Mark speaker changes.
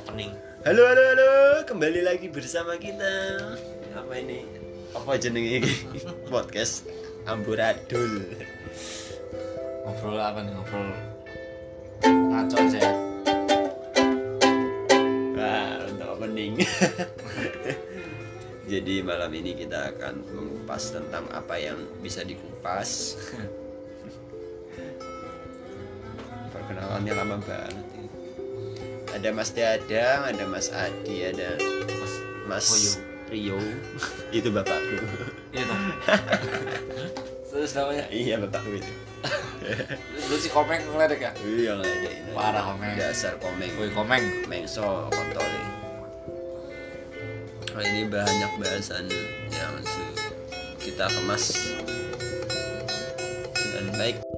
Speaker 1: opening
Speaker 2: Halo halo halo, kembali lagi bersama kita. Apa ini? Apa jenenge iki? Podcast Amburadul.
Speaker 1: ngobrol apa nih ngobrol ngaco aja ya
Speaker 2: Wah, untuk opening. Jadi malam ini kita akan mengupas tentang apa yang bisa dikupas. Perkenalannya lama banget. ini. Ada Mas Dadang, ada Mas Adi, ada
Speaker 1: terus
Speaker 2: Mas
Speaker 1: Boyo.
Speaker 2: Rio. Oh, iya. itu bapakku.
Speaker 1: iya toh terus namanya
Speaker 2: iya bapakku itu.
Speaker 1: lu si komeng ngeledek ya
Speaker 2: Iya ngeledekin.
Speaker 1: Parah, Komeng.
Speaker 2: Dasar komeng.
Speaker 1: boy komeng
Speaker 2: mengso kontole kali ini banyak ya, bahasan yang su- kita kemas dengan baik